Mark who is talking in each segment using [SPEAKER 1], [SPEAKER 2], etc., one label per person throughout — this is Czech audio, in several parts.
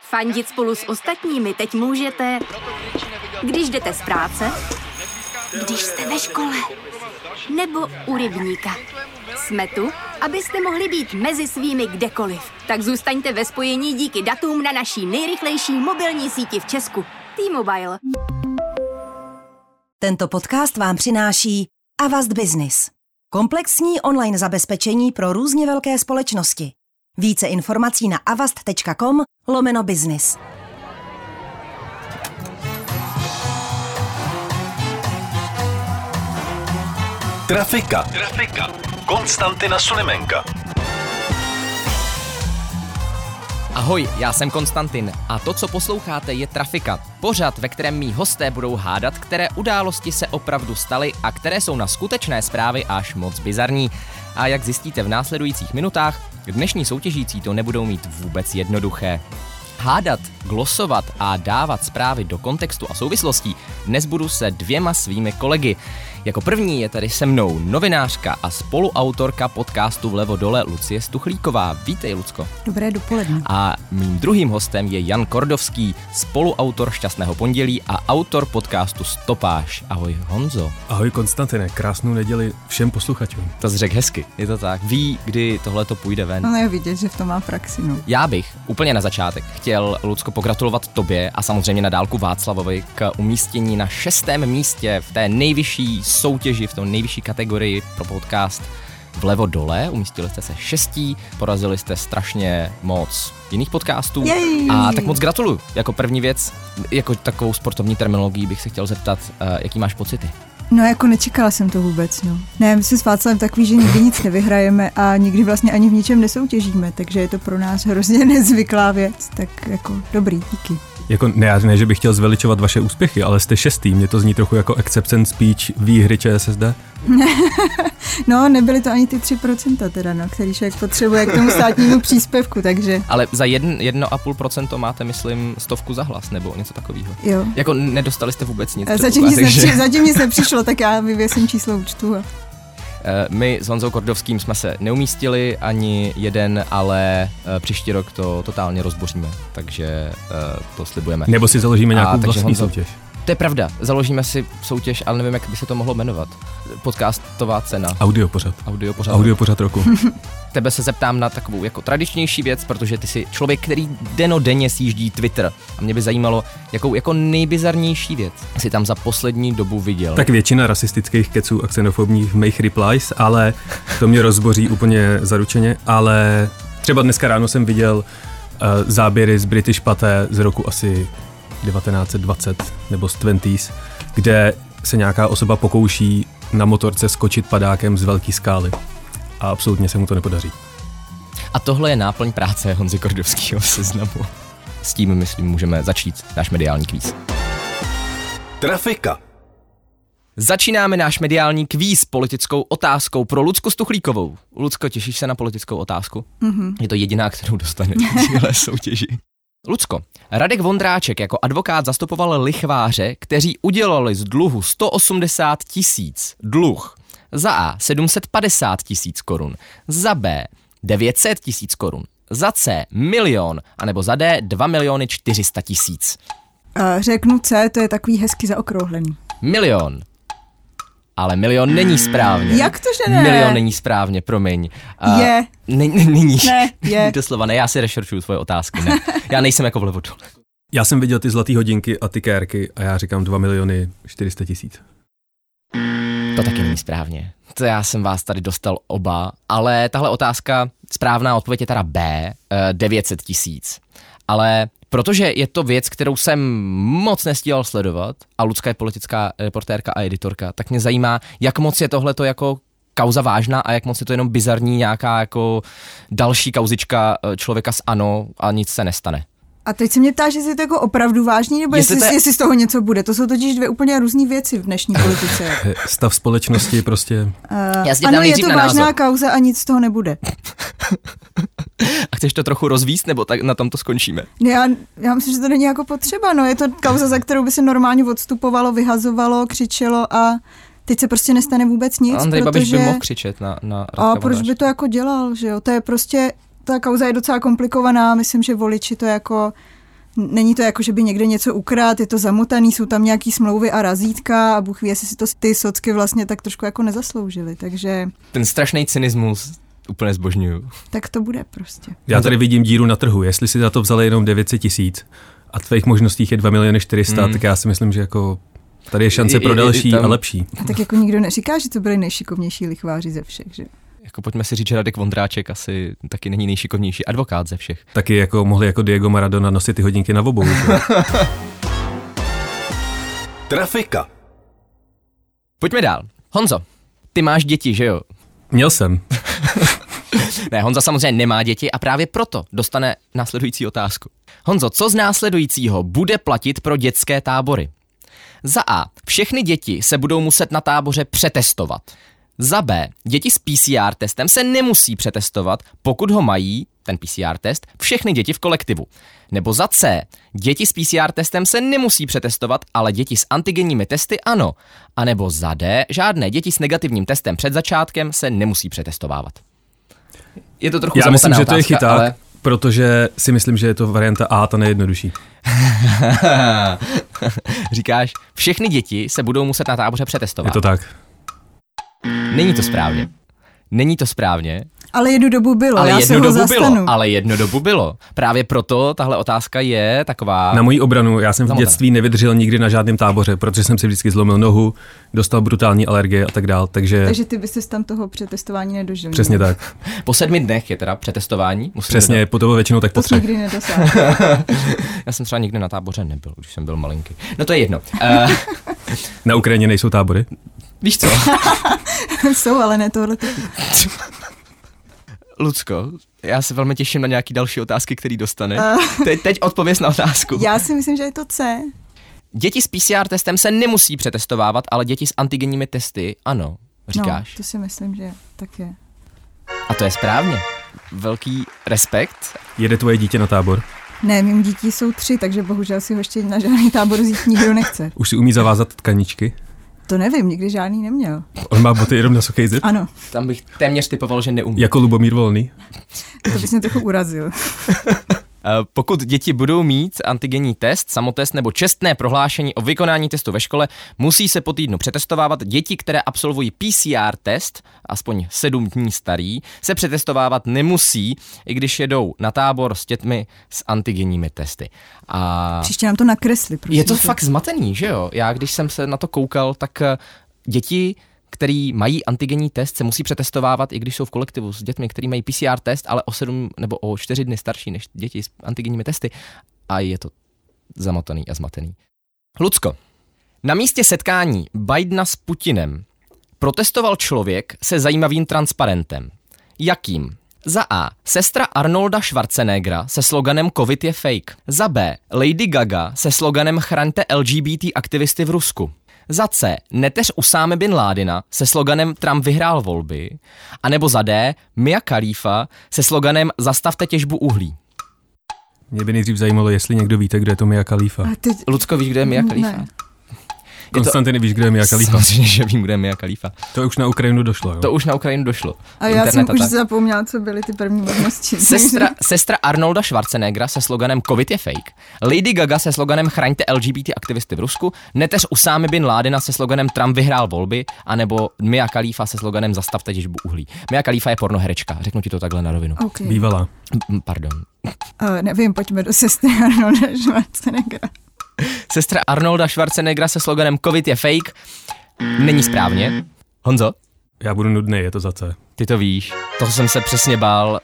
[SPEAKER 1] Fandit spolu s ostatními teď můžete, když jdete z práce, když jste ve škole nebo u rybníka. Jsme tu, abyste mohli být mezi svými kdekoliv. Tak zůstaňte ve spojení díky datům na naší nejrychlejší mobilní síti v Česku. T-Mobile.
[SPEAKER 2] Tento podcast vám přináší Avast Business. Komplexní online zabezpečení pro různě velké společnosti. Více informací na avast.com lomeno business.
[SPEAKER 3] Trafika. Trafika. Konstantina Sulimenka.
[SPEAKER 4] Ahoj, já jsem Konstantin a to, co posloucháte, je Trafika. Pořad, ve kterém mý hosté budou hádat, které události se opravdu staly a které jsou na skutečné zprávy až moc bizarní. A jak zjistíte v následujících minutách, dnešní soutěžící to nebudou mít vůbec jednoduché. Hádat, glosovat a dávat zprávy do kontextu a souvislostí dnes budu se dvěma svými kolegy. Jako první je tady se mnou novinářka a spoluautorka podcastu Vlevo dole Lucie Stuchlíková. Vítej, Lucko.
[SPEAKER 5] Dobré dopoledne.
[SPEAKER 4] A mým druhým hostem je Jan Kordovský, spoluautor Šťastného pondělí a autor podcastu Stopáš. Ahoj Honzo.
[SPEAKER 6] Ahoj Konstantine, krásnou neděli všem posluchačům.
[SPEAKER 4] To jsi řekl hezky, je to tak. Ví, kdy tohle to půjde ven.
[SPEAKER 5] No je vidět, že v tom mám praxi. No.
[SPEAKER 4] Já bych úplně na začátek chtěl, Lucko, pogratulovat tobě a samozřejmě na dálku Václavovi k umístění na šestém místě v té nejvyšší soutěži, v tom nejvyšší kategorii pro podcast vlevo dole, umístili jste se šestí, porazili jste strašně moc jiných podcastů.
[SPEAKER 5] Jej.
[SPEAKER 4] A tak moc gratuluju. Jako první věc, jako takovou sportovní terminologii bych se chtěl zeptat, eh, jaký máš pocity?
[SPEAKER 5] No jako nečekala jsem to vůbec, no. Ne, my jsme s Václavem takový, že nikdy nic nevyhrajeme a nikdy vlastně ani v ničem nesoutěžíme, takže je to pro nás hrozně nezvyklá věc, tak jako dobrý, díky.
[SPEAKER 6] Jako ne, já ne, že bych chtěl zveličovat vaše úspěchy, ale jste šestý, mě to zní trochu jako acceptance speech výhry ČSSD.
[SPEAKER 5] No, nebyly to ani ty 3% teda, no, který člověk potřebuje k tomu státnímu příspěvku, takže
[SPEAKER 4] Ale za jedn, 1,5% máte, myslím, stovku za hlas nebo něco takového.
[SPEAKER 5] jo.
[SPEAKER 4] Jako nedostali jste vůbec nic.
[SPEAKER 5] A Eh, Zatím nic,
[SPEAKER 4] předpokládám, takže-
[SPEAKER 5] nepři, zatím nic nepřišlo, tak já vyvěsím číslo účtu. A...
[SPEAKER 4] Eh, My s Honzou Kordovským jsme se neumístili ani jeden, ale eh, příští rok to totálně rozboříme, takže eh, to slibujeme.
[SPEAKER 6] Nebo si založíme
[SPEAKER 4] A,
[SPEAKER 6] nějakou
[SPEAKER 4] takže
[SPEAKER 6] vlastní
[SPEAKER 4] Honzo-
[SPEAKER 6] soutěž.
[SPEAKER 4] To je pravda, založíme si soutěž, ale nevím, jak by se to mohlo jmenovat. Podcastová cena.
[SPEAKER 6] Audio pořad.
[SPEAKER 4] Audio pořád.
[SPEAKER 6] Audio pořad roku.
[SPEAKER 4] Tebe se zeptám na takovou jako tradičnější věc, protože ty jsi člověk, který denodenně sjíždí Twitter. A mě by zajímalo, jakou jako nejbizarnější věc si tam za poslední dobu viděl.
[SPEAKER 6] tak většina rasistických keců a xenofobních v mých replies, ale to mě rozboří úplně zaručeně, ale třeba dneska ráno jsem viděl uh, záběry z British Paté z roku asi 1920 nebo z 20s, kde se nějaká osoba pokouší na motorce skočit padákem z velké skály. A absolutně se mu to nepodaří.
[SPEAKER 4] A tohle je náplň práce Honzy Kordovského seznamu. S tím, myslím, můžeme začít náš mediální kvíz.
[SPEAKER 3] Trafika.
[SPEAKER 4] Začínáme náš mediální kvíz politickou otázkou pro Lucku Stuchlíkovou. Lucko, těšíš se na politickou otázku?
[SPEAKER 5] Mhm.
[SPEAKER 4] Je to jediná, kterou dostaneš v téhle soutěži. Lucko, Radek Vondráček jako advokát zastupoval lichváře, kteří udělali z dluhu 180 tisíc dluh. Za A 750 tisíc korun, za B 900 tisíc korun, za C milion, anebo za D 2 miliony 400 tisíc.
[SPEAKER 5] A řeknu C, to je takový hezky zaokrouhlený.
[SPEAKER 4] Milion. Ale milion není správně.
[SPEAKER 5] Jak to, že ne?
[SPEAKER 4] Milion není správně, promiň. A
[SPEAKER 5] Je.
[SPEAKER 4] Ne, ne, není.
[SPEAKER 5] Ne, je.
[SPEAKER 4] Doslova ne, já si rešerčuju tvoje otázky. Ne. Já nejsem jako vlevo dole.
[SPEAKER 6] Já jsem viděl ty zlaté hodinky a ty kérky a já říkám 2 miliony 400 tisíc.
[SPEAKER 4] To taky není správně. To já jsem vás tady dostal oba, ale tahle otázka, správná odpověď je teda B, eh, 900 tisíc. Ale protože je to věc, kterou jsem moc nestíhal sledovat a Lucka je politická reportérka a editorka, tak mě zajímá, jak moc je tohleto jako kauza vážná a jak moc je to jenom bizarní nějaká jako další kauzička eh, člověka s ANO a nic se nestane.
[SPEAKER 5] A teď se mě ptáš, jestli je to jako opravdu vážný, nebo
[SPEAKER 4] Jestli
[SPEAKER 5] jestli,
[SPEAKER 4] to
[SPEAKER 5] jestli,
[SPEAKER 4] je-
[SPEAKER 5] jestli z toho něco bude. To jsou totiž dvě úplně různé věci v dnešní politice.
[SPEAKER 6] Eh, Stav společnosti prostě
[SPEAKER 5] Uh,
[SPEAKER 4] Já si tě ptám
[SPEAKER 5] ano, je
[SPEAKER 4] nejdřív
[SPEAKER 5] to
[SPEAKER 4] na
[SPEAKER 5] vážná
[SPEAKER 4] názor.
[SPEAKER 5] kauza a nic z toho nebude.
[SPEAKER 4] A chceš to trochu rozvíst, nebo tak na tom to skončíme?
[SPEAKER 5] Ne, Já, já myslím, že to není jako potřeba. No, je to kauza, za kterou by se normálně odstupovalo, vyhazovalo, křičelo a teď se prostě nestane vůbec nic,
[SPEAKER 4] Andrej
[SPEAKER 5] protože...
[SPEAKER 4] Babiš by mohl křičet na, na
[SPEAKER 5] a
[SPEAKER 4] Radka
[SPEAKER 5] proč by to jako dělal, že jo? To je prostě, ta kauza je docela komplikovaná, myslím, že voliči to jako Není to jako, že by někde něco ukrát, je to zamotaný, jsou tam nějaký smlouvy a razítka a Bůh ví, jestli si to ty socky vlastně tak trošku jako nezasloužili, takže
[SPEAKER 4] Ten strašný cynismus úplně zbožňuju.
[SPEAKER 5] tak to bude prostě.
[SPEAKER 4] No
[SPEAKER 6] Já tady vidím díru na trhu. Jestli si za to vzali jenom 900 tisíc a tvých možností je 2 miliony 400,
[SPEAKER 4] Mm.
[SPEAKER 6] tak já si myslím, že jako tady je šance
[SPEAKER 4] I- i-
[SPEAKER 6] pro
[SPEAKER 4] i
[SPEAKER 6] další
[SPEAKER 4] tam-
[SPEAKER 6] a lepší.
[SPEAKER 5] A tak jako nikdo neříká, že to byli nejšikovnější lichváři ze všech, že?
[SPEAKER 4] Jako pojďme si říct, že Radek Vondráček asi taky není nejšikovnější advokát ze všech.
[SPEAKER 6] Taky jako mohli jako Diego Maradona nosit ty hodinky na obou. že?
[SPEAKER 3] Trafika.
[SPEAKER 4] Pojďme dál. Honzo, ty máš děti, že jo?
[SPEAKER 6] Měl jsem.
[SPEAKER 4] Jako Ne, Honza samozřejmě nemá děti a právě proto dostane následující otázku. Honzo, co z následujícího bude platit pro dětské tábory? Za A. Všechny děti se budou muset na táboře přetestovat. Za B. Děti s PCR testem se nemusí přetestovat, pokud ho mají, ten PCR test, všechny děti v kolektivu. Nebo za C. Děti s PCR testem se nemusí přetestovat, ale děti s antigenními testy ano. A nebo za D. Žádné děti s negativním testem před začátkem se nemusí přetestovávat. Je to trochu
[SPEAKER 6] Já myslím,
[SPEAKER 4] zamotaná
[SPEAKER 6] že to
[SPEAKER 4] otázka,
[SPEAKER 6] je chyták,
[SPEAKER 4] ale...
[SPEAKER 6] ale... protože si myslím, že je to varianta A, ta nejjednodušší.
[SPEAKER 4] Říkáš, všechny děti se budou muset na táboře přetestovat.
[SPEAKER 6] Je to tak.
[SPEAKER 4] Není to správně. Není to správně,
[SPEAKER 5] Ale jednu dobu bylo,
[SPEAKER 4] ale
[SPEAKER 5] já se
[SPEAKER 4] jednu
[SPEAKER 5] ho
[SPEAKER 4] dobu
[SPEAKER 5] zastanu.
[SPEAKER 4] bylo. Ale jednu dobu bylo. Právě proto tahle otázka je taková...
[SPEAKER 6] Na moji obranu, já jsem v
[SPEAKER 4] Zamotaná.
[SPEAKER 6] dětství nevydržel nikdy na žádném táboře, protože jsem si vždycky zlomil nohu, dostal brutální alergie a tak dál, takže...
[SPEAKER 5] Takže ty bys se tam toho přetestování nedožil.
[SPEAKER 6] Přesně tak.
[SPEAKER 4] Po sedmi dnech je teda přetestování. Musím
[SPEAKER 6] Přesně,
[SPEAKER 4] dodat.
[SPEAKER 6] po toho většinou tak po
[SPEAKER 5] To jsi
[SPEAKER 6] třech.
[SPEAKER 5] nikdy nedosáhl.
[SPEAKER 4] Já jsem třeba nikdy na táboře nebyl, když jsem byl malinký. No to je jedno. Uh,
[SPEAKER 6] Na Ukrajině nejsou tábory?
[SPEAKER 4] víš co?
[SPEAKER 5] Jsou, ale ne tohle. typu.
[SPEAKER 4] Lucko, já se velmi těším na nějaký další otázky, který dostane. Teď, teď odpověz na otázku.
[SPEAKER 5] Eh. Já si myslím, že je to C.
[SPEAKER 4] Děti s PCR testem se nemusí přetestovávat, ale děti s antigenními testy, ano,
[SPEAKER 5] No,
[SPEAKER 4] říkáš.
[SPEAKER 5] to si myslím, že tak je.
[SPEAKER 4] A to je správně. Velký respekt.
[SPEAKER 6] Jede tvoje dítě na tábor?
[SPEAKER 5] Ne, mým dítí jsou tři, takže bohužel si ho ještě na žádný tábor vzít nikdo nechce.
[SPEAKER 6] Už si umí zavázat tkaničky?
[SPEAKER 5] To nevím, nikdy žádný neměl.
[SPEAKER 6] On má boty jenom na suchý zip?
[SPEAKER 5] Ano,
[SPEAKER 4] Tam bych téměř typoval, že neumí.
[SPEAKER 6] Jako Lubomír Volný?
[SPEAKER 5] to bys mě trochu urazil.
[SPEAKER 4] Eh, Pokud děti budou mít antigenní test, samotest nebo čestné prohlášení o vykonání testu ve škole, musí se po týdnu přetestovávat. Děti, které absolvují PCR test, aspoň 7 dní starý, se přetestovávat nemusí, i když jedou na tábor s dětmi s antigenními testy. A
[SPEAKER 5] Příště nám to nakresli. Prosím,
[SPEAKER 4] je to
[SPEAKER 5] tě.
[SPEAKER 4] fakt zmatený, že jo? Já když jsem se na to koukal, tak eh, děti který mají antigenní test, se musí přetestovávat, i když jsou v kolektivu s dětmi, který mají PCR test, ale o 7 nebo o 4 dny starší než děti s antigenními testy. A je to zamotaný a zmatený. Lucko, na místě setkání Bidena s Putinem protestoval člověk se zajímavým transparentem. Jakým? Za A. Sestra Arnolda Schwarzeneggera se sloganem COVID je fake. Za B. Lady Gaga se sloganem Chraňte LGBT aktivisty v Rusku. Za C. Neteř Usáme Bin Ládina se sloganem Trump vyhrál volby. A nebo za D. Mia Khalifa se sloganem Zastavte těžbu uhlí.
[SPEAKER 6] Mě by nejdřív zajímalo, jestli někdo víte, kdo je to Mia Khalifa.
[SPEAKER 5] A teď...
[SPEAKER 4] Lucko, víš, kde je Mia Khalifa?
[SPEAKER 5] Ne.
[SPEAKER 6] Konstantiny, víš, kdo je Mia Khalifa?
[SPEAKER 4] Samozřejmě, že vím, kde je Mia Khalifa.
[SPEAKER 6] To už na Ukrajinu došlo, jo?
[SPEAKER 4] To už na Ukrajinu došlo.
[SPEAKER 5] A já jsem
[SPEAKER 4] Internet
[SPEAKER 5] už
[SPEAKER 4] tak.
[SPEAKER 5] zapomněla, co byly ty první možnosti.
[SPEAKER 4] Sestra, sestra Arnolda Schwarzeneggera se sloganem COVID je fake, Lady Gaga se sloganem Chraňte LGBT aktivisty v Rusku, neteř Usámy Bin Ládina se sloganem Trump vyhrál volby, anebo Mia Khalifa se sloganem Zastavte těžbu uhlí. Mia Khalifa je pornoherečka, řeknu ti to takhle na rovinu.
[SPEAKER 5] Okay.
[SPEAKER 6] Bývala.
[SPEAKER 4] M, Pardon.
[SPEAKER 5] Uh, nevím, pojďme do sestry Arnolda Schwarzeneggera.
[SPEAKER 4] Sestra Arnolda Schwarzeneggera se sloganem COVID je fake, není správně. Honzo,
[SPEAKER 6] Já budu nudný, je to za C.
[SPEAKER 4] ty to víš. To jsem se přesně bál,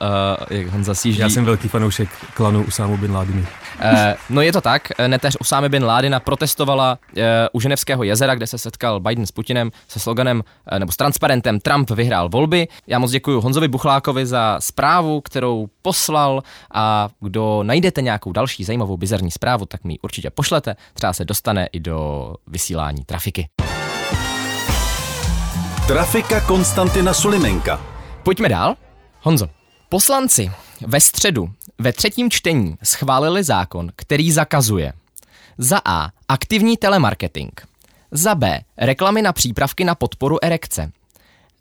[SPEAKER 4] uh, jak Honza sjíždí.
[SPEAKER 6] Já jsem velký fanoušek klanu Usámu Bin Ládiny.
[SPEAKER 4] Eh, no je to tak, eh, neteř Usámy Bin Ládina protestovala eh, u Ženevského jezera, kde se setkal Biden s Putinem se sloganem, eh, nebo s transparentem Trump vyhrál volby. Já moc děkuji Honzovi Buchlákovi za zprávu, kterou poslal a kdo najdete nějakou další zajímavou bizarní zprávu, tak mi ji určitě pošlete, třeba se dostane i do vysílání trafiky.
[SPEAKER 3] Trafika Konstantina Sulimenka.
[SPEAKER 4] Pojďme dál. Honzo, poslanci ve středu ve třetím čtení schválili zákon, který zakazuje za A. Aktivní telemarketing, za B. Reklamy na přípravky na podporu erekce,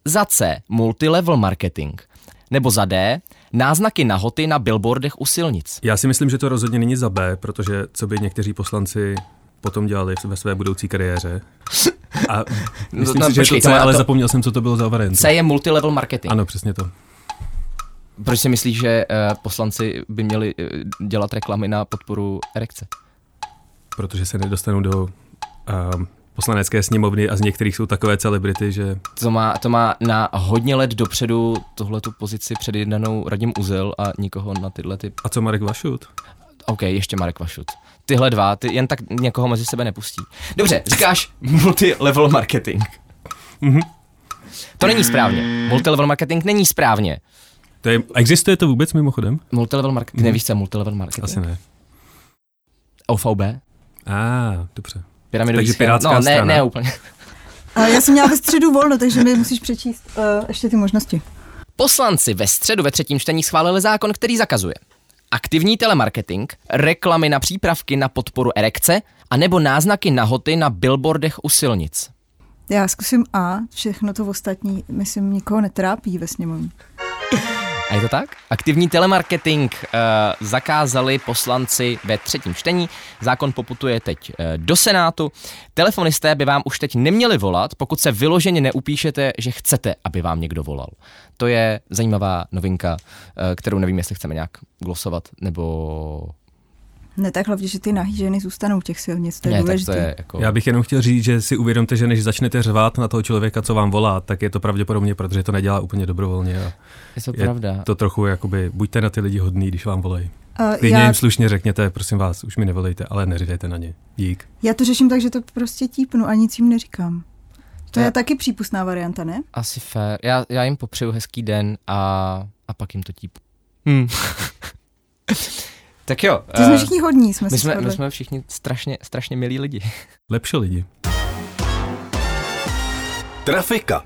[SPEAKER 4] za C. Multilevel marketing, nebo za D. Náznaky nahoty na billboardech u silnic.
[SPEAKER 6] Já si myslím, že to rozhodně není za B, protože co by někteří poslanci potom dělali ve své budoucí kariéře. A myslím
[SPEAKER 4] no,
[SPEAKER 6] si, že je
[SPEAKER 4] počkej,
[SPEAKER 6] to
[SPEAKER 4] to
[SPEAKER 6] C,
[SPEAKER 4] má
[SPEAKER 6] ale
[SPEAKER 4] to-
[SPEAKER 6] zapomněl jsem, co to bylo za variantu.
[SPEAKER 4] C je multilevel marketing.
[SPEAKER 6] Ano, přesně to.
[SPEAKER 4] Proč si myslíš, že eh, poslanci by měli eh, dělat reklamy na podporu erekce?
[SPEAKER 6] Protože se nedostanou do um, poslanecké sněmovny a z některých jsou takové celebrity, že
[SPEAKER 4] To má, to má na hodně let dopředu tuhle tu pozici předjednanou Radim Uzel a nikoho na tyhle ty...
[SPEAKER 6] a co Marek Vašut?
[SPEAKER 4] OK, ještě Marek Vašut. Tyhle dva, ty jen tak někoho mezi sebe nepustí. Dobře, říkáš multilevel marketing. Mhm. to není správně. Multilevel marketing není správně.
[SPEAKER 6] To je, existuje to vůbec mimochodem?
[SPEAKER 4] Multilevel marketing, nevíš, co je multilevel marketing?
[SPEAKER 6] Mhm. Asi ne.
[SPEAKER 4] OVB?
[SPEAKER 6] A, ah, dobře.
[SPEAKER 4] Pyramidový
[SPEAKER 6] Takže
[SPEAKER 4] schéma.
[SPEAKER 6] pirátská
[SPEAKER 4] No, ne,
[SPEAKER 6] strana.
[SPEAKER 4] ne úplně.
[SPEAKER 5] A Eh, já jsem měla ve středu volno, takže mi musíš přečíst uh, ještě ty možnosti.
[SPEAKER 4] Poslanci ve středu ve třetím čtení schválili zákon, který zakazuje aktivní telemarketing, reklamy na přípravky na podporu erekce a nebo náznaky nahoty na billboardech u silnic.
[SPEAKER 5] Já zkusím A, všechno to ostatní, myslím, nikoho netrápí ve sněmovně.
[SPEAKER 4] A je to tak? Aktivní telemarketing uh, zakázali poslanci ve třetím čtení. Zákon poputuje teď uh, do Senátu. Telefonisté by vám už teď neměli volat, pokud se vyloženě neupíšete, že chcete, aby vám někdo volal. To je zajímavá novinka, uh, kterou nevím, jestli chceme nějak glosovat nebo
[SPEAKER 5] Ne tak hlavně, že ty nahý ženy zůstanou u těch silnic, to je
[SPEAKER 4] ne, tak to
[SPEAKER 5] důležité.
[SPEAKER 4] je jako...
[SPEAKER 6] Oh. Já bych jenom chtěl říct, že si uvědomte, že než začnete řvát na toho člověka, co vám volá, tak je to pravděpodobně, protože to nedělá úplně dobrovolně. A
[SPEAKER 4] Je to
[SPEAKER 6] je
[SPEAKER 4] pravda.
[SPEAKER 6] to trochu jakoby, buďte na ty lidi hodný, když vám volají.
[SPEAKER 5] A
[SPEAKER 6] Klidně
[SPEAKER 5] já,
[SPEAKER 6] jim slušně řekněte, prosím vás, už mi nevolejte, ale neřidejte na ně. Dík.
[SPEAKER 5] já to řeším tak, že to prostě típnu a nic jim neříkám. To
[SPEAKER 4] Já-
[SPEAKER 5] je taky přípustná varianta, ne?
[SPEAKER 4] Asi fér. Já, já jim popřeju hezký den a, a pak jim to típu. Hmm. tak jo.
[SPEAKER 5] To jsme
[SPEAKER 4] eh,
[SPEAKER 5] všichni hodní, jsme
[SPEAKER 4] my
[SPEAKER 5] se
[SPEAKER 4] jsme, my
[SPEAKER 5] shodli.
[SPEAKER 4] jsme všichni strašně, strašně milí lidi.
[SPEAKER 6] Lepší lidi.
[SPEAKER 3] Trafika.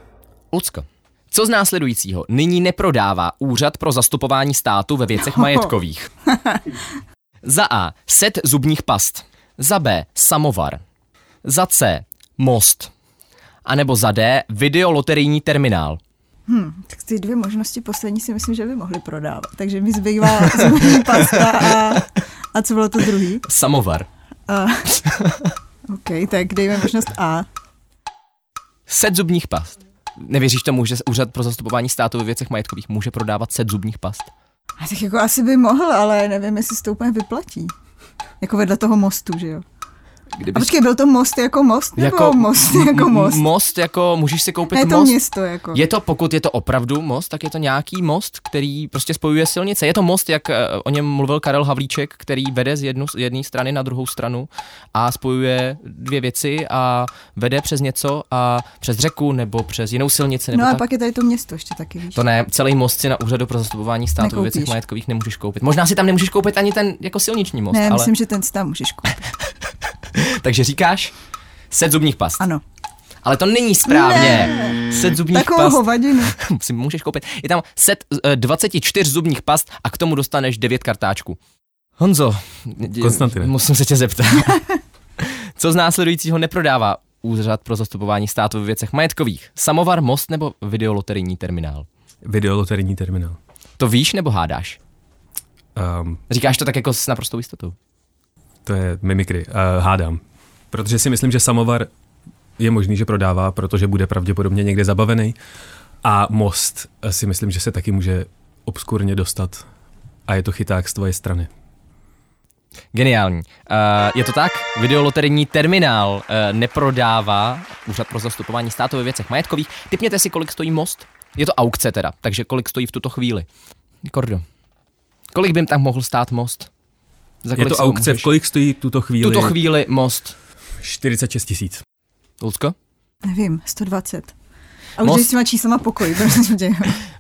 [SPEAKER 4] Lucko, co z následujícího nyní neprodává Úřad pro zastupování státu ve věcech majetkových? Za A. Set zubních past. Za B. Samovar. Za C. Most. A nebo za D. Videoloterijní terminál.
[SPEAKER 5] Tak ty dvě možnosti poslední si myslím, že by mohli prodávat. Takže mi zbývá zubní pasta a, a co bylo to druhý?
[SPEAKER 4] Samovar.
[SPEAKER 5] A, OK, tak dejme možnost A.
[SPEAKER 4] Set zubních past. Nevěříš tomu, že Úřad pro zastupování státu ve věcech majetkových může prodávat set zubních past?
[SPEAKER 5] A tak jako asi by mohl, ale nevím, jestli se to úplně vyplatí. Jako vedle toho mostu, že jo? A
[SPEAKER 4] Kdyby
[SPEAKER 5] počkej, byl to most jako most? Nebo jako, most jako most?
[SPEAKER 4] Most jako, můžeš si koupit
[SPEAKER 5] Ne, je to
[SPEAKER 4] most.
[SPEAKER 5] město jako.
[SPEAKER 4] Je to, pokud je to opravdu most, tak je to nějaký most, který prostě spojuje silnice. Je to most, jak eh, o něm mluvil Karel Havlíček, který vede z jednu- z jedné strany na druhou stranu a spojuje dvě věci a vede přes něco a přes řeku nebo přes jinou silnici. Nebo
[SPEAKER 5] no a
[SPEAKER 4] tak.
[SPEAKER 5] pak je tady to město ještě taky, víš?
[SPEAKER 4] To ne, celý most si na úřadu pro zastupování státu ve
[SPEAKER 5] Nekoupíš.
[SPEAKER 4] věcech majetkových nemůžeš koupit. Možná si tam nemůžeš koupit ani ten jako silniční most,
[SPEAKER 5] ne,
[SPEAKER 4] ale...
[SPEAKER 5] myslím, že ten si tam můžeš koupit.
[SPEAKER 4] Takže říkáš set zubních past.
[SPEAKER 5] Ano.
[SPEAKER 4] Ale to není správně. Set zubních
[SPEAKER 5] Takovou
[SPEAKER 4] past
[SPEAKER 5] hovadinu.
[SPEAKER 4] si můžeš koupit. Je tam set eh, 24 zubních past a k tomu dostaneš 9 kartáčků. Honzo, dě-
[SPEAKER 6] Konstantine.
[SPEAKER 4] musím se tě zeptat. Co z následujícího neprodává Úřad pro zastupování státu ve věcech majetkových? Samovar, most nebo videoloterijní terminál?
[SPEAKER 6] Videoloterijní terminál.
[SPEAKER 4] To víš nebo hádáš?
[SPEAKER 6] Um,
[SPEAKER 4] Říkáš to tak jako s naprostou jistotou.
[SPEAKER 6] to je mimikry. Uh, hádám. Protože si myslím, že samovar je možný, že prodává, protože bude pravděpodobně někde zabavený. A most eh, si myslím, že se taky může obskurně dostat. A je to chyták z tvoje strany.
[SPEAKER 4] Geniální. Uh, je to tak? Videoloterijní terminál uh, neprodává Úřad pro zastupování státu ve věcech majetkových. Typněte si, kolik stojí most. Je to aukce teda, takže kolik stojí v tuto chvíli. Kordo, kolik by tam mohl stát most? Za
[SPEAKER 6] Je to
[SPEAKER 4] si ho
[SPEAKER 6] aukce, v
[SPEAKER 4] můžeš-
[SPEAKER 6] kolik stojí tuto
[SPEAKER 4] V
[SPEAKER 6] chvíli?
[SPEAKER 4] tuto chvíli most.
[SPEAKER 6] 46 tisíc.
[SPEAKER 4] Lucko?
[SPEAKER 5] Nevím, 120. A už
[SPEAKER 4] Most-
[SPEAKER 5] Most... s těma číslama pokoj, prosím tě.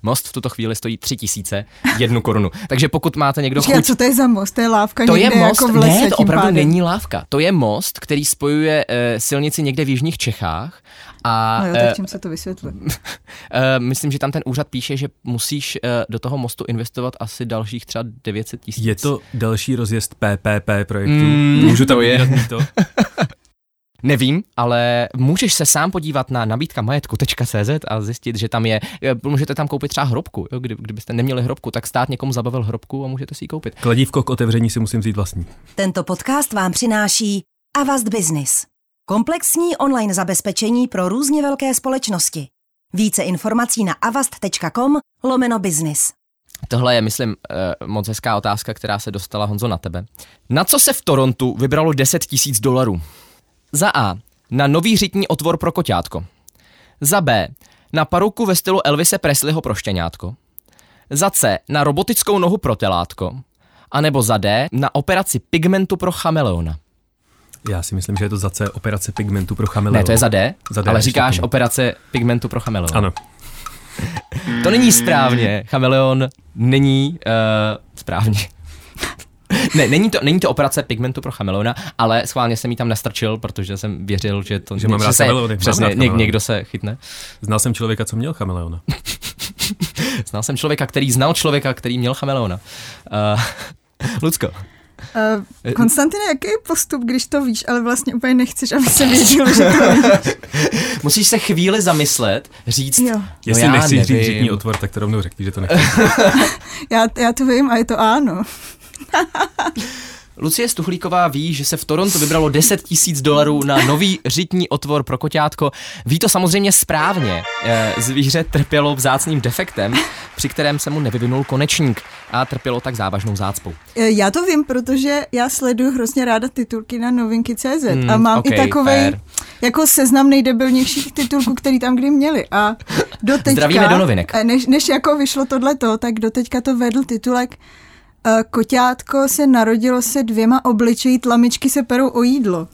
[SPEAKER 4] Most v tuto chvíli stojí 3000 jednu korunu. Takže pokud máte někdo
[SPEAKER 5] Počkej, a
[SPEAKER 4] No chuť
[SPEAKER 5] co to je za most? To je lávka
[SPEAKER 4] To je
[SPEAKER 5] někde
[SPEAKER 4] most,
[SPEAKER 5] jako v lese
[SPEAKER 4] ne, to
[SPEAKER 5] tím
[SPEAKER 4] opravdu
[SPEAKER 5] pádem.
[SPEAKER 4] není lávka. To je most, který spojuje e, silnici někde v jižních Čechách. A
[SPEAKER 5] No jo,
[SPEAKER 4] eh,
[SPEAKER 5] tak tím se to vysvětluje.
[SPEAKER 4] Eh, myslím, že tam ten úřad píše, že musíš eh, do toho mostu investovat asi dalších třeba 900 tisíc.
[SPEAKER 6] Je to další rozjezd PPP projektu.
[SPEAKER 4] Mm,
[SPEAKER 6] Můžu tam
[SPEAKER 4] to je.
[SPEAKER 6] udělat to?
[SPEAKER 4] Nevím, ale můžeš se sám podívat na nabídka majetku.cz a zjistit, že tam je, eh, můžete tam koupit třeba hrobku. Jo? Kdy, kdybyste neměli hrobku, tak stát někomu zabavil hrobku a můžete si ji koupit.
[SPEAKER 6] Kladívko k otevření si musím vzít vlastní.
[SPEAKER 2] Tento podcast vám přináší Avast Business. Komplexní online zabezpečení pro různě velké společnosti. Více informací na avast.com lomeno business.
[SPEAKER 4] Tohle je, myslím, eh, moc hezká otázka, která se dostala Honzo na tebe. Na co se v Torontu vybralo 10 tisíc dolarů? Za A. Na nový řitní otvor pro koťátko. Za B. Na paruku ve stylu Elvise Presleyho pro štěňátko. Za C. Na robotickou nohu pro telátko. A nebo za D. Na operaci pigmentu pro chameleona.
[SPEAKER 6] Já si myslím, že je to za C operace pigmentu pro chameleon.
[SPEAKER 4] Ne, to je za D,
[SPEAKER 6] Za D,
[SPEAKER 4] ale
[SPEAKER 6] ještě
[SPEAKER 4] říkáš
[SPEAKER 6] tomu.
[SPEAKER 4] operace pigmentu pro chameleona.
[SPEAKER 6] Ano.
[SPEAKER 4] To není správně. Chameleon není uh, správně. Ne, není to, není to operace pigmentu pro chameleona, ale schválně jsem jí tam nastrčil, protože jsem věřil, že to
[SPEAKER 6] Že mám
[SPEAKER 4] že
[SPEAKER 6] rád
[SPEAKER 4] se,
[SPEAKER 6] chameleony, mám
[SPEAKER 4] přesně,
[SPEAKER 6] rád
[SPEAKER 4] něk-
[SPEAKER 6] chameleony.
[SPEAKER 4] někdo se chytne.
[SPEAKER 6] Znal jsem člověka, co měl chameleona.
[SPEAKER 4] Znal jsem člověka, který znal člověka, který měl chameleona. Uh, Lucko,
[SPEAKER 5] Uh, Konstantine, jaký je postup, když to víš, ale vlastně úplně nechceš, aby se věděl, že to
[SPEAKER 4] musíš se chvíli zamyslet, říct,
[SPEAKER 5] Jo.
[SPEAKER 4] no
[SPEAKER 6] Jestli
[SPEAKER 4] já
[SPEAKER 6] nechci říct
[SPEAKER 4] nevím.
[SPEAKER 6] řitní otvor, tak to rovnou řekni, že to nechci.
[SPEAKER 5] já, já to vím a je to ano.
[SPEAKER 4] Lucie Stuchlíková ví, že se v Torontu vybralo 10 tisíc dolarů na nový řitní otvor pro koťátko. Ví to samozřejmě správně. Eh, Zvíře trpělo vzácným defektem, při kterém se mu nevyvinul konečník a trpělo tak závažnou zácpou.
[SPEAKER 5] Eh, Já to vím, protože já sleduju hrozně ráda titulky na novinky.cz
[SPEAKER 4] Hmm,
[SPEAKER 5] a mám
[SPEAKER 4] okej,
[SPEAKER 5] i takový
[SPEAKER 4] fair.
[SPEAKER 5] jako seznam nejdebilnějších titulků, který tam kdy měli. A do teďka,
[SPEAKER 4] Zdravíme do novinek.
[SPEAKER 5] eh, Než, než jako vyšlo tohleto, tak do teďka to vedl titulek eh, Koťátko se narodilo se dvěma obličeji, tlamičky se perou o jídlo.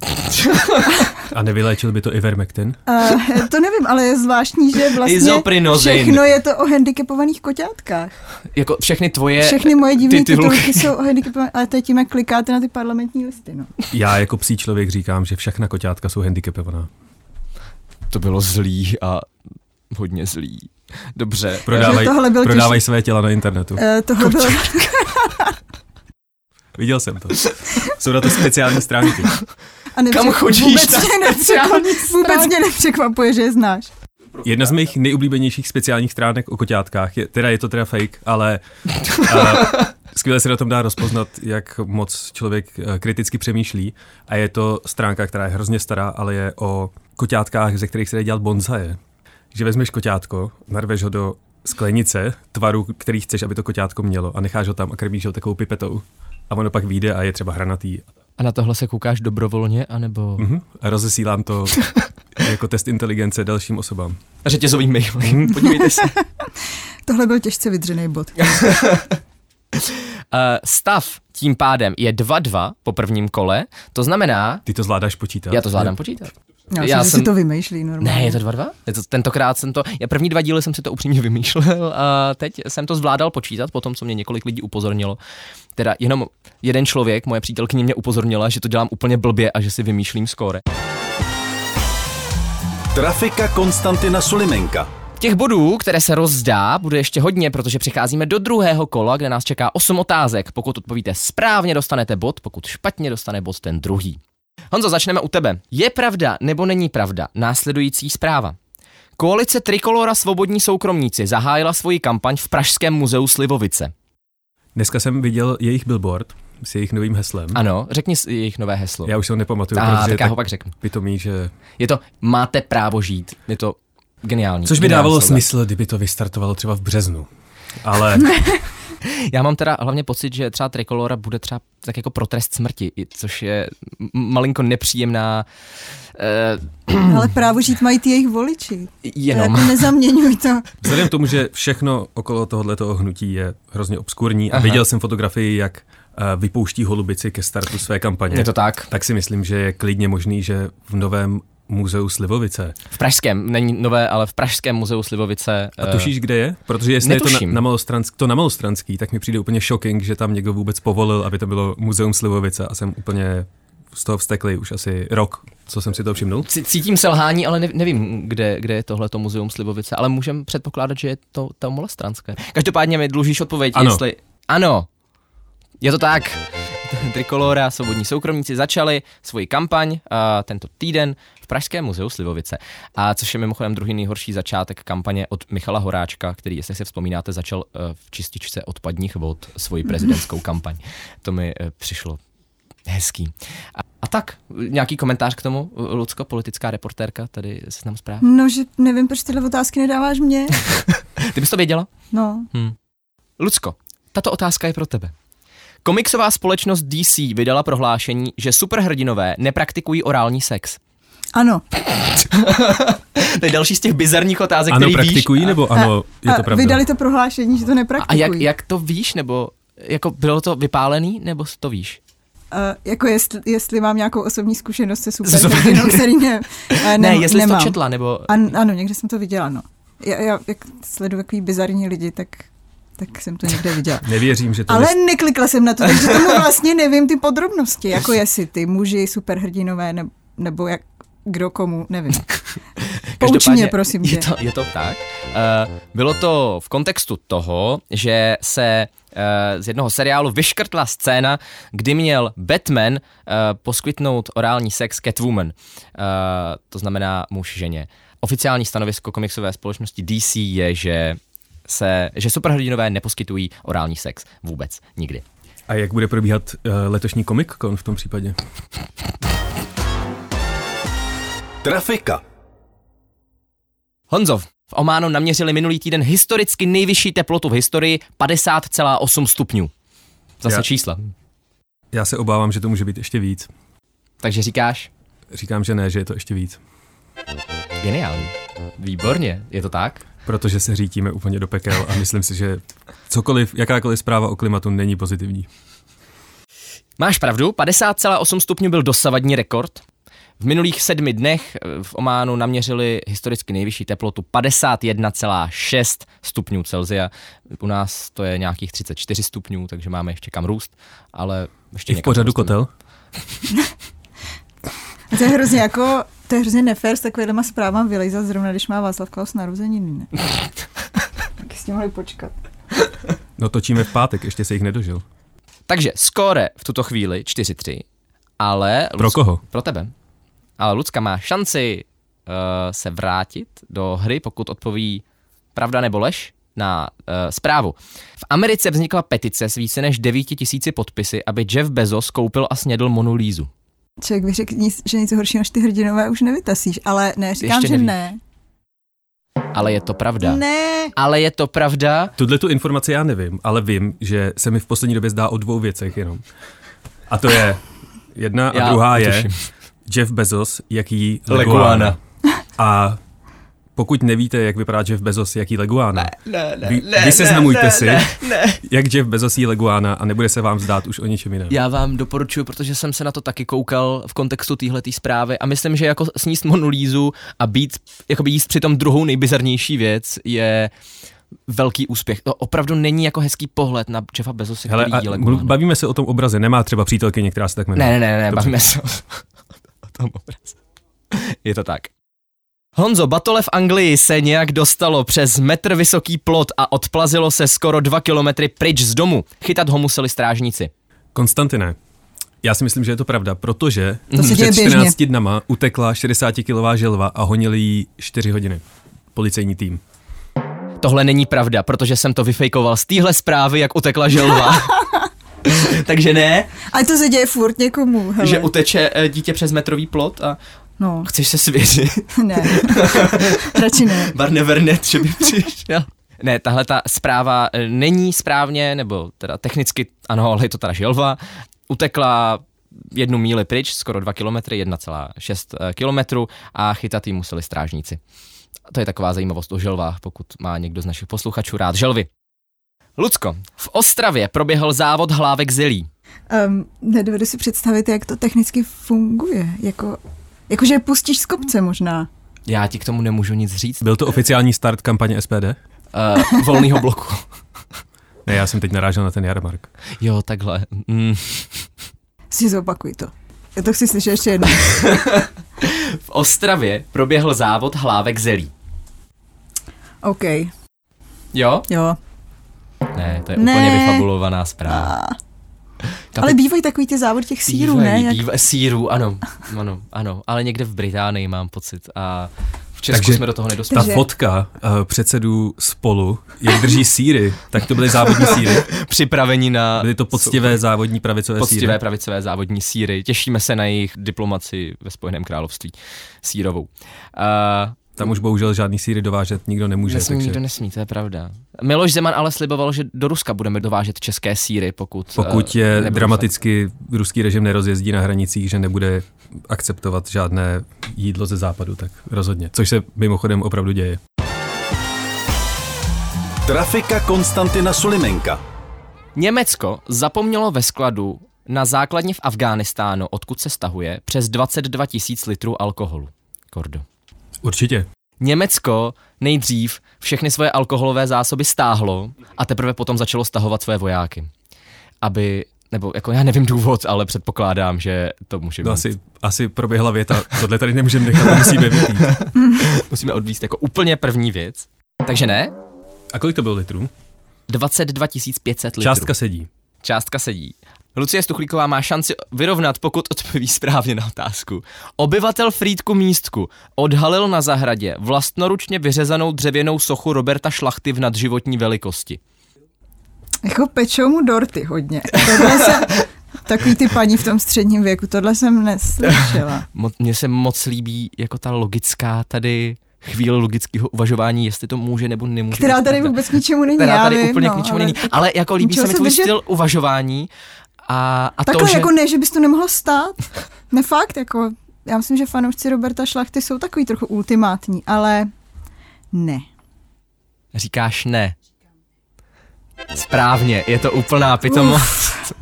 [SPEAKER 6] A nevyléčil by to Ivermectin?
[SPEAKER 5] Uh, to nevím, ale je zvláštní, že vlastně
[SPEAKER 4] Izoprinozin.
[SPEAKER 5] všechno je to o handicapovaných koťátkách.
[SPEAKER 4] Jako všechny tvoje
[SPEAKER 5] Všechny moje divné
[SPEAKER 4] titulky.
[SPEAKER 5] titulky jsou o handicapovaných, ale to je tím, jak klikáte na ty parlamentní listy. No.
[SPEAKER 6] Já jako psí člověk říkám, že všechna koťátka jsou handicapovaná.
[SPEAKER 4] To bylo zlý a hodně zlý. Dobře.
[SPEAKER 6] Prodávaj,
[SPEAKER 5] Takže tohle byl těžký-
[SPEAKER 6] prodávaj své těla na internetu.
[SPEAKER 5] Uh, tohle bylo
[SPEAKER 6] Viděl jsem to. Jsou na to speciální stránky.
[SPEAKER 5] A nepřek-
[SPEAKER 4] Kam chodíš
[SPEAKER 5] Vůbec,
[SPEAKER 4] na
[SPEAKER 5] mě
[SPEAKER 4] sociální
[SPEAKER 5] nepřekvapuje, vůbec mě nepřekvapuje, že je znáš.
[SPEAKER 6] Jedna z mých nejoblíbenějších speciálních stránek o koťátkách, je, teda je to teda fake, ale uh, skvěle se na tom dá rozpoznat, jak moc člověk eh, kriticky přemýšlí. A je to stránka, která je hrozně stará, ale je o koťátkách, ze kterých se dají dělat bonzaje. Že vezmeš koťátko, narveš ho do sklenice tvaru, který chceš, aby to koťátko mělo a necháš ho tam a krmíš ho takovou pipetou. A ono pak vyjde a je třeba hranatý.
[SPEAKER 4] A na tohle se koukáš dobrovolně, anebo
[SPEAKER 6] Mhm. A rozesílám to jako test inteligence dalším osobám.
[SPEAKER 4] řetězový mail. Mm, Podívejte se.
[SPEAKER 5] Tohle byl těžce vydřený bod.
[SPEAKER 4] Eh, Stav tím pádem je 2-2 po prvním kole, to znamená,
[SPEAKER 6] Ty to zvládáš počítat?
[SPEAKER 4] já to zvládám počítat.
[SPEAKER 5] Já,
[SPEAKER 4] Já
[SPEAKER 5] já jsem, No, že
[SPEAKER 4] jsem-
[SPEAKER 5] si to vymýšlí normálně.
[SPEAKER 4] Ne, je to 2-2? Je to, tentokrát jsem to, já první dva díly jsem si to upřímně vymýšlel a teď jsem to zvládal počítat, potom co mě několik lidí upozornilo. Teda jenom jeden člověk, moje přítelkyně mě upozornila, že to dělám úplně blbě a že si vymýšlím skóre.
[SPEAKER 3] Trafika Konstantina Sulimenka.
[SPEAKER 4] Těch bodů, které se rozdá, bude ještě hodně, protože přicházíme do druhého kola, kde nás čeká 8 otázek. Pokud odpovíte správně, dostanete bod, pokud špatně, dostane bod ten druhý. Honzo, začneme u tebe. Je pravda nebo není pravda následující zpráva? Koalice Trikolora Svobodní soukromníci zahájila svoji kampaň v Pražském muzeu Slivovice.
[SPEAKER 6] Dneska jsem viděl jejich billboard s jejich novým heslem.
[SPEAKER 4] Ano, řekni s- jejich nové heslo.
[SPEAKER 6] Já už se ho nepamatuju,
[SPEAKER 4] A,
[SPEAKER 6] protože
[SPEAKER 4] tak
[SPEAKER 6] je
[SPEAKER 4] já ho
[SPEAKER 6] tak
[SPEAKER 4] pak řeknu.
[SPEAKER 6] pitomý, že...
[SPEAKER 4] Je to máte právo žít. Je to geniální.
[SPEAKER 6] Což by
[SPEAKER 4] geniální
[SPEAKER 6] dávalo
[SPEAKER 4] slogan.
[SPEAKER 6] smysl, kdyby to vystartovalo třeba v březnu. Ale
[SPEAKER 4] Já mám teda hlavně pocit, že třeba Trikolora bude třeba tak jako pro trest smrti, i- což je m- malinko nepříjemná eh,
[SPEAKER 5] Ale právo žít mají ty jejich voliči.
[SPEAKER 4] jenom.
[SPEAKER 5] To Jako nezaměňuj to.
[SPEAKER 6] vzhledem k tomu, že všechno okolo tohoto hnutí je hrozně obskurní a
[SPEAKER 4] Aha.
[SPEAKER 6] viděl jsem fotografii, jak eh, vypouští holubici ke startu své kampaně,
[SPEAKER 4] Je to tak.
[SPEAKER 6] tak si myslím, že je klidně možný, že v novém muzeu Slivovice.
[SPEAKER 4] V Pražském, není nové, ale v Pražském muzeu Slivovice.
[SPEAKER 6] A
[SPEAKER 4] eh,
[SPEAKER 6] tušíš, kde je? Protože jestli je to na,
[SPEAKER 4] netuším.
[SPEAKER 6] na malostranský, to na malostranský, tak mi přijde úplně shocking, že tam někdo vůbec povolil, aby to bylo muzeum Slivovice a jsem úplně z toho vsteklý už asi rok, co jsem si to všimnul.
[SPEAKER 4] c- Cítím selhání, ale ne, nevím, kde, kde je tohleto muzeum Slivovice, ale můžem předpokládat, že je to, to molestranské. Každopádně mi dlužíš odpověď,
[SPEAKER 6] Ano.
[SPEAKER 4] jestli... Ano. Je to tak. Trikolora, svobodní soukromníci začali svoji kampaň uh, tento týden v Pražském muzeu Slivovice, a což je mimochodem druhý nejhorší začátek kampaně od Michala Horáčka, který, jestli si vzpomínáte, začal uh, v čističce odpadních vod svoji prezidentskou kampaň. To mi uh, přišlo hezký. A, a tak, nějaký komentář k tomu, Lucko, politická reportérka, tady se nám zpráv.
[SPEAKER 5] No, že nevím, proč tyhle otázky nedáváš mě.
[SPEAKER 4] Ty bys to věděla? Hm.
[SPEAKER 5] No,
[SPEAKER 4] Lucko, tato otázka je pro tebe. Komiksová společnost DC vydala prohlášení, že superhrdinové nepraktikují orální sex.
[SPEAKER 5] ano.
[SPEAKER 4] To je další z těch bizarních otázek,
[SPEAKER 6] Ano,
[SPEAKER 4] který
[SPEAKER 6] praktikují,
[SPEAKER 4] víš. Eh,
[SPEAKER 6] nebo ano, je to
[SPEAKER 5] a
[SPEAKER 6] pravda?
[SPEAKER 5] vydali to prohlášení, že to
[SPEAKER 4] A, a
[SPEAKER 5] nepraktikují.
[SPEAKER 4] jak, jak to víš, nebo jako bylo to vypálený, nebo to víš?
[SPEAKER 5] Uh, jako jestli, jestli mám nějakou osobní zkušenost se super,
[SPEAKER 4] Se super-
[SPEAKER 5] který ne, eh,
[SPEAKER 4] ne,
[SPEAKER 5] nem-
[SPEAKER 4] jestli jsi
[SPEAKER 5] nemám.
[SPEAKER 4] to četla, nebo...
[SPEAKER 5] An, ano, někde jsem to viděla, no. Já, já jak sleduju takový bizarní lidi, tak, tak jsem to někde viděla.
[SPEAKER 6] Nevěřím, že to
[SPEAKER 5] Ale
[SPEAKER 6] Ale...
[SPEAKER 5] neklikla jsem na to, takže tomu vlastně nevím ty podrobnosti, jako jestli ty muži, superhrdinové, ne, nebo jak, kdo komu, nevím. Pouč mě, prosím tě.
[SPEAKER 4] je to, je to tak. Uh, bylo to v kontextu toho, že se uh, z jednoho seriálu vyškrtla scéna, kdy měl Batman uh, poskytnout orální sex Catwoman. Uh, to znamená muž ženě. Oficiální stanovisko komiksové společnosti DC je, že se, že superhrdinové neposkytují orální sex vůbec nikdy.
[SPEAKER 6] A jak bude probíhat uh, letošní Comic Con v tom případě?
[SPEAKER 3] Trafika.
[SPEAKER 4] Honzov, v Ománu naměřili minulý týden historicky nejvyšší teplotu v historii 50,8 stupňů. Zase
[SPEAKER 6] Já-
[SPEAKER 4] čísla.
[SPEAKER 6] Já se obávám, že to může být ještě víc.
[SPEAKER 4] Takže říkáš,
[SPEAKER 6] Říkám, že ne, že je to ještě víc.
[SPEAKER 4] geniální. Výborně, je to tak?
[SPEAKER 6] Protože se řítíme úplně do pekel a myslím si, že cokoliv, jakákoliv zpráva o klimatu není pozitivní.
[SPEAKER 4] Máš pravdu, 50,8 stupňů byl dosavadní rekord. V minulých sedmi dnech eh, v Ománu naměřili historicky nejvyšší teplotu 51,6 stupňů Celzia. U nás to je nějakých 34 stupňů, takže máme ještě kam růst, ale ještě
[SPEAKER 6] I v
[SPEAKER 4] někam
[SPEAKER 6] pořadu
[SPEAKER 4] rosteme.
[SPEAKER 6] kotel?
[SPEAKER 5] A to je hrozně jako, to je hrozně nefér s takovýhlema zprávám vylejzat zrovna, když má Václav Klaus narozeniny, ne? tak s tím mohli počkat.
[SPEAKER 6] No točíme v pátek, ještě se jich nedožil.
[SPEAKER 4] Takže skóre v tuto chvíli 4-3, ale...
[SPEAKER 6] Pro koho?
[SPEAKER 4] Pro tebe. Ale Lucka má šanci uh, se vrátit do hry, pokud odpoví pravda nebo lež na uh, zprávu. V Americe vznikla petice s více než 9 tisíci podpisy, aby Jeff Bezos koupil a snědl Monu Lízu.
[SPEAKER 5] Člověk by řekl, nic- že něco horšího než ty hrdinové už nevytasíš, ale ne, říkám,
[SPEAKER 4] Ještě
[SPEAKER 5] že
[SPEAKER 4] neví.
[SPEAKER 5] ne.
[SPEAKER 4] Ale je to pravda.
[SPEAKER 5] Ne,
[SPEAKER 4] Ale je to pravda.
[SPEAKER 6] Tuhle tu informaci já nevím, ale vím, že se mi v poslední době zdá o dvou věcech jenom. A to je jedna a
[SPEAKER 4] Já
[SPEAKER 6] druhá je
[SPEAKER 4] tuším.
[SPEAKER 6] Jeff Bezos, jaký
[SPEAKER 4] Leguána.
[SPEAKER 6] Leguána. A pokud nevíte, jak vypadá Jeff Bezos, jaký Leguána,
[SPEAKER 4] Ne, ne,
[SPEAKER 6] vy, vyseznamujte si, jak Jeff Bezos jí Leguána a nebude se vám zdát už o ničem jiném.
[SPEAKER 4] Já vám doporučuji, protože jsem se na to taky koukal v kontextu téhletý zprávy a myslím, že jako sníst monolízu a být, jakoby jíst přitom druhou nejbizarnější věc je velký úspěch. To opravdu není jako hezký pohled na Jeffa Bezose,
[SPEAKER 6] Hele,
[SPEAKER 4] který
[SPEAKER 6] a
[SPEAKER 4] jí
[SPEAKER 6] mluv-
[SPEAKER 4] Leguánu.
[SPEAKER 6] bavíme se o tom obraze, nemá třeba přítelkyně, která se tak jmenuje.
[SPEAKER 4] Ne, ne, ne, ne,
[SPEAKER 6] Dobře.
[SPEAKER 4] bavíme se o, o tom obraze. Je to tak. Honzo, batole v Anglii se nějak dostalo přes metr vysoký plot a odplazilo se skoro dva kilometry pryč z domu. Chytat ho museli strážníci.
[SPEAKER 6] Konstantine, já si myslím, že je to pravda, protože
[SPEAKER 5] To se děje
[SPEAKER 6] před
[SPEAKER 5] běžně.
[SPEAKER 6] 14 dnama utekla 60-kilová želva a honili ji 4 hodiny. Policejní tým.
[SPEAKER 4] Tohle není pravda, protože jsem to vyfejkoval z téhle zprávy, jak utekla želva. Takže ne,
[SPEAKER 5] ale to se děje furt někomu, hele.
[SPEAKER 4] že uteče eh, dítě přes metrový plot a
[SPEAKER 5] No,
[SPEAKER 4] chceš se svěřit.
[SPEAKER 5] ne, radši ne.
[SPEAKER 4] Barne Vernet, že by přišel. Ne, tahle ta zpráva eh, není správně, nebo teda technicky ano, ale je to teda želva. Utekla jednu míli pryč, skoro 2 kilometry, 1,6 eh, kilometru a chytat ji museli strážníci. To je taková zajímavost o želvách, pokud má někdo z našich posluchačů rád želvy. Lucko, v Ostravě proběhl závod hlávek zelí.
[SPEAKER 5] Um, nedovedu si představit, jak to technicky funguje, jako, jakože pustíš z kopce možná.
[SPEAKER 4] Já ti k tomu nemůžu nic říct.
[SPEAKER 6] Byl to oficiální start kampaně SPD?
[SPEAKER 4] Uh, volného bloku.
[SPEAKER 6] Ne, já jsem teď narážel na ten jarmark.
[SPEAKER 4] Jo, takhle. Mm.
[SPEAKER 5] Si zopakuj to. Já to chci slyšet ještě jednou.
[SPEAKER 4] V Ostravě proběhl závod hlávek zelí.
[SPEAKER 5] OK,
[SPEAKER 4] Jo?
[SPEAKER 5] jo.
[SPEAKER 4] Ne, to je
[SPEAKER 5] Ne.
[SPEAKER 4] úplně vyfabulovaná zpráva.
[SPEAKER 5] Ale bývají takový ty závod těch sírů, ne?
[SPEAKER 4] Bývají,
[SPEAKER 5] Jak...
[SPEAKER 4] býva- sírů, ano, ano, ano, ale někde v Británii mám pocit a v Česku
[SPEAKER 6] Takže
[SPEAKER 4] jsme do toho
[SPEAKER 6] Ta
[SPEAKER 4] nedostali.
[SPEAKER 5] Takže-
[SPEAKER 6] fotka uh, předsedů spolu, jak drží síry, tak to byly závodní síry.
[SPEAKER 4] Připraveni na
[SPEAKER 6] Byly to poctivé závodní pravicové síry.
[SPEAKER 4] poctivé pravicové závodní síry. Těšíme se na jejich diplomaci ve Spojeném království sírovou. Uh,
[SPEAKER 6] Tam už bohužel žádný síry dovážet nikdo nemůže.
[SPEAKER 4] nesmí,
[SPEAKER 6] takže
[SPEAKER 4] nikdo nesmí, to je pravda. Miloš Zeman ale sliboval, že do Ruska budeme dovážet české síry, pokud...
[SPEAKER 6] Pokud
[SPEAKER 4] eh,
[SPEAKER 6] je
[SPEAKER 4] nebudou
[SPEAKER 6] dramaticky ruský režim nerozjezdí na hranicích, že nebude akceptovat žádné jídlo ze západu, tak rozhodně. Což se mimochodem opravdu děje.
[SPEAKER 3] Trafika Konstantina Sulimenka.
[SPEAKER 4] Německo zapomnělo ve skladu na základně v Afghánistánu, odkud se stahuje, přes 22 tisíc litrů alkoholu. Kordo.
[SPEAKER 6] Určitě.
[SPEAKER 4] Německo nejdřív všechny svoje alkoholové zásoby stáhlo a teprve potom začalo stahovat své vojáky. Aby, nebo jako já nevím důvod, ale předpokládám, že to může být.
[SPEAKER 6] No asi, asi proběhla věta, tohle tady nemůžeme nechat, to musíme vypít.
[SPEAKER 4] Musíme odvíst jako úplně první věc. Takže ne,
[SPEAKER 6] A kolik to bylo litrů?
[SPEAKER 4] 22 500 litrů.
[SPEAKER 6] Částka sedí.
[SPEAKER 4] Částka sedí. Lucie Stuchlíková má šanci vyrovnat, pokud odpoví správně na otázku. Obyvatel Frýdku Místku odhalil na zahradě vlastnoručně vyřezanou dřevěnou sochu Roberta Šlachty v nadživotní velikosti.
[SPEAKER 5] Jako pečou mu dorty hodně. Tohle jsem... Takový ty paní v tom středním věku, tohle jsem neslyšela.
[SPEAKER 4] Mo- Mně se moc líbí jako ta logická tady chvíle logického uvažování, jestli to může nebo nemůže.
[SPEAKER 5] Která
[SPEAKER 4] být
[SPEAKER 5] tady
[SPEAKER 4] pravda.
[SPEAKER 5] vůbec k ničemu není,
[SPEAKER 4] která
[SPEAKER 5] já
[SPEAKER 4] tady
[SPEAKER 5] vím,
[SPEAKER 4] úplně
[SPEAKER 5] no,
[SPEAKER 4] k ničemu
[SPEAKER 5] ale
[SPEAKER 4] není.
[SPEAKER 5] tak-
[SPEAKER 4] Ale jako líbí se
[SPEAKER 5] ničeho
[SPEAKER 4] mi
[SPEAKER 5] se
[SPEAKER 4] tvůj
[SPEAKER 5] držet-
[SPEAKER 4] styl uvažování a, a
[SPEAKER 5] Takhle
[SPEAKER 4] to, že...
[SPEAKER 5] jako ne, že bys to nemohlo stát. Ne fakt, jako já myslím, že fanoušci Roberta Šlachty jsou takový trochu ultimátní, ale ne.
[SPEAKER 4] Říkáš ne. Správně, je to úplná pitomost.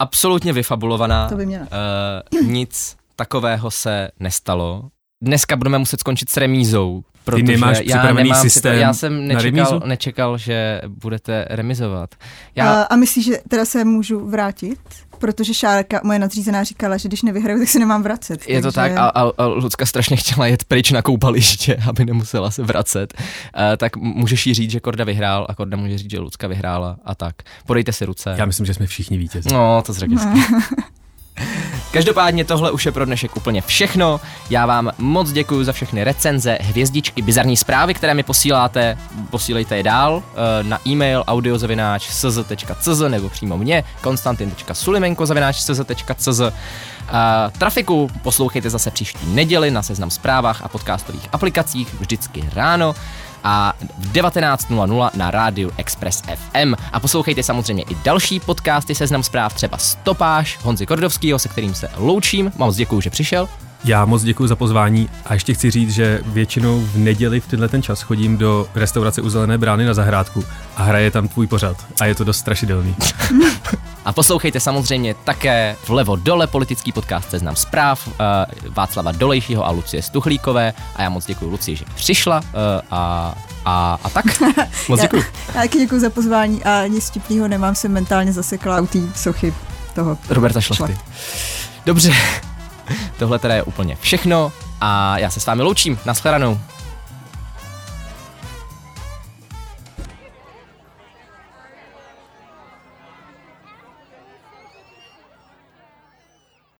[SPEAKER 4] Absolutně vyfabulovaná.
[SPEAKER 5] To by měla.
[SPEAKER 4] Eh, nic takového se nestalo. Dneska budeme muset skončit s remízou, protože
[SPEAKER 6] nemáš
[SPEAKER 4] já
[SPEAKER 6] připravený
[SPEAKER 4] nemám
[SPEAKER 6] systém
[SPEAKER 4] připraven- Já jsem
[SPEAKER 6] na
[SPEAKER 4] nečekal,
[SPEAKER 6] remízu?
[SPEAKER 4] nečekal, že budete remizovat. Já,
[SPEAKER 5] Já... A, a myslíš, že teda se můžu vrátit? Protože Šárka, moje nadřízená, říkala, že když nevyhraju, tak se nemám vracet.
[SPEAKER 4] Je to tak,
[SPEAKER 5] takže-
[SPEAKER 4] a, a, a Lucka strašně chtěla jet pryč na koupaliště, aby nemusela se vracet. E, tak m- můžeš jí říct, že Korda vyhrál a Korda může říct, že Lucka vyhrála a tak. Podejte si ruce.
[SPEAKER 6] Já myslím, že jsme všichni vítězi.
[SPEAKER 4] No, to zřejmě no. Každopádně tohle už je pro dnešek úplně všechno. Já vám moc děkuji za všechny recenze, hvězdičky, bizarní zprávy, které mi posíláte. Posílejte je dál eh, na e-mail audiozavináč.cz nebo přímo mě konstantin.sulimenko.cz Eh, Trafiku poslouchejte zase příští neděli na Seznam zprávách a podcastových aplikacích vždycky ráno a v 19.00 na rádiu Express FM. A poslouchejte samozřejmě i další podcasty Seznam zpráv, třeba Stopáž Honzi Kordovského, se kterým se loučím. Moc děkuji, že přišel.
[SPEAKER 6] Já moc děkuji za pozvání a ještě chci říct, že většinou v neděli v tenhle ten čas chodím do restaurace u Zelené brány na zahrádku a hraje tam tvůj pořad a je to dost strašidelný.
[SPEAKER 4] A poslouchejte samozřejmě také vlevo dole politický podcast Seznam zpráv eh, Václava Dolejšího a Lucie Stuchlíkové. A já moc děkuji Luci, že přišla eh, a, a, a tak. Moc děkuji.
[SPEAKER 5] Já taky děkuji za pozvání a nic vtipného nemám, jsem mentálně zasekla u té sochy toho.
[SPEAKER 4] Roberta Šlachty. Dobře, tohle teda je úplně všechno a já se s vámi loučím. Naschledanou.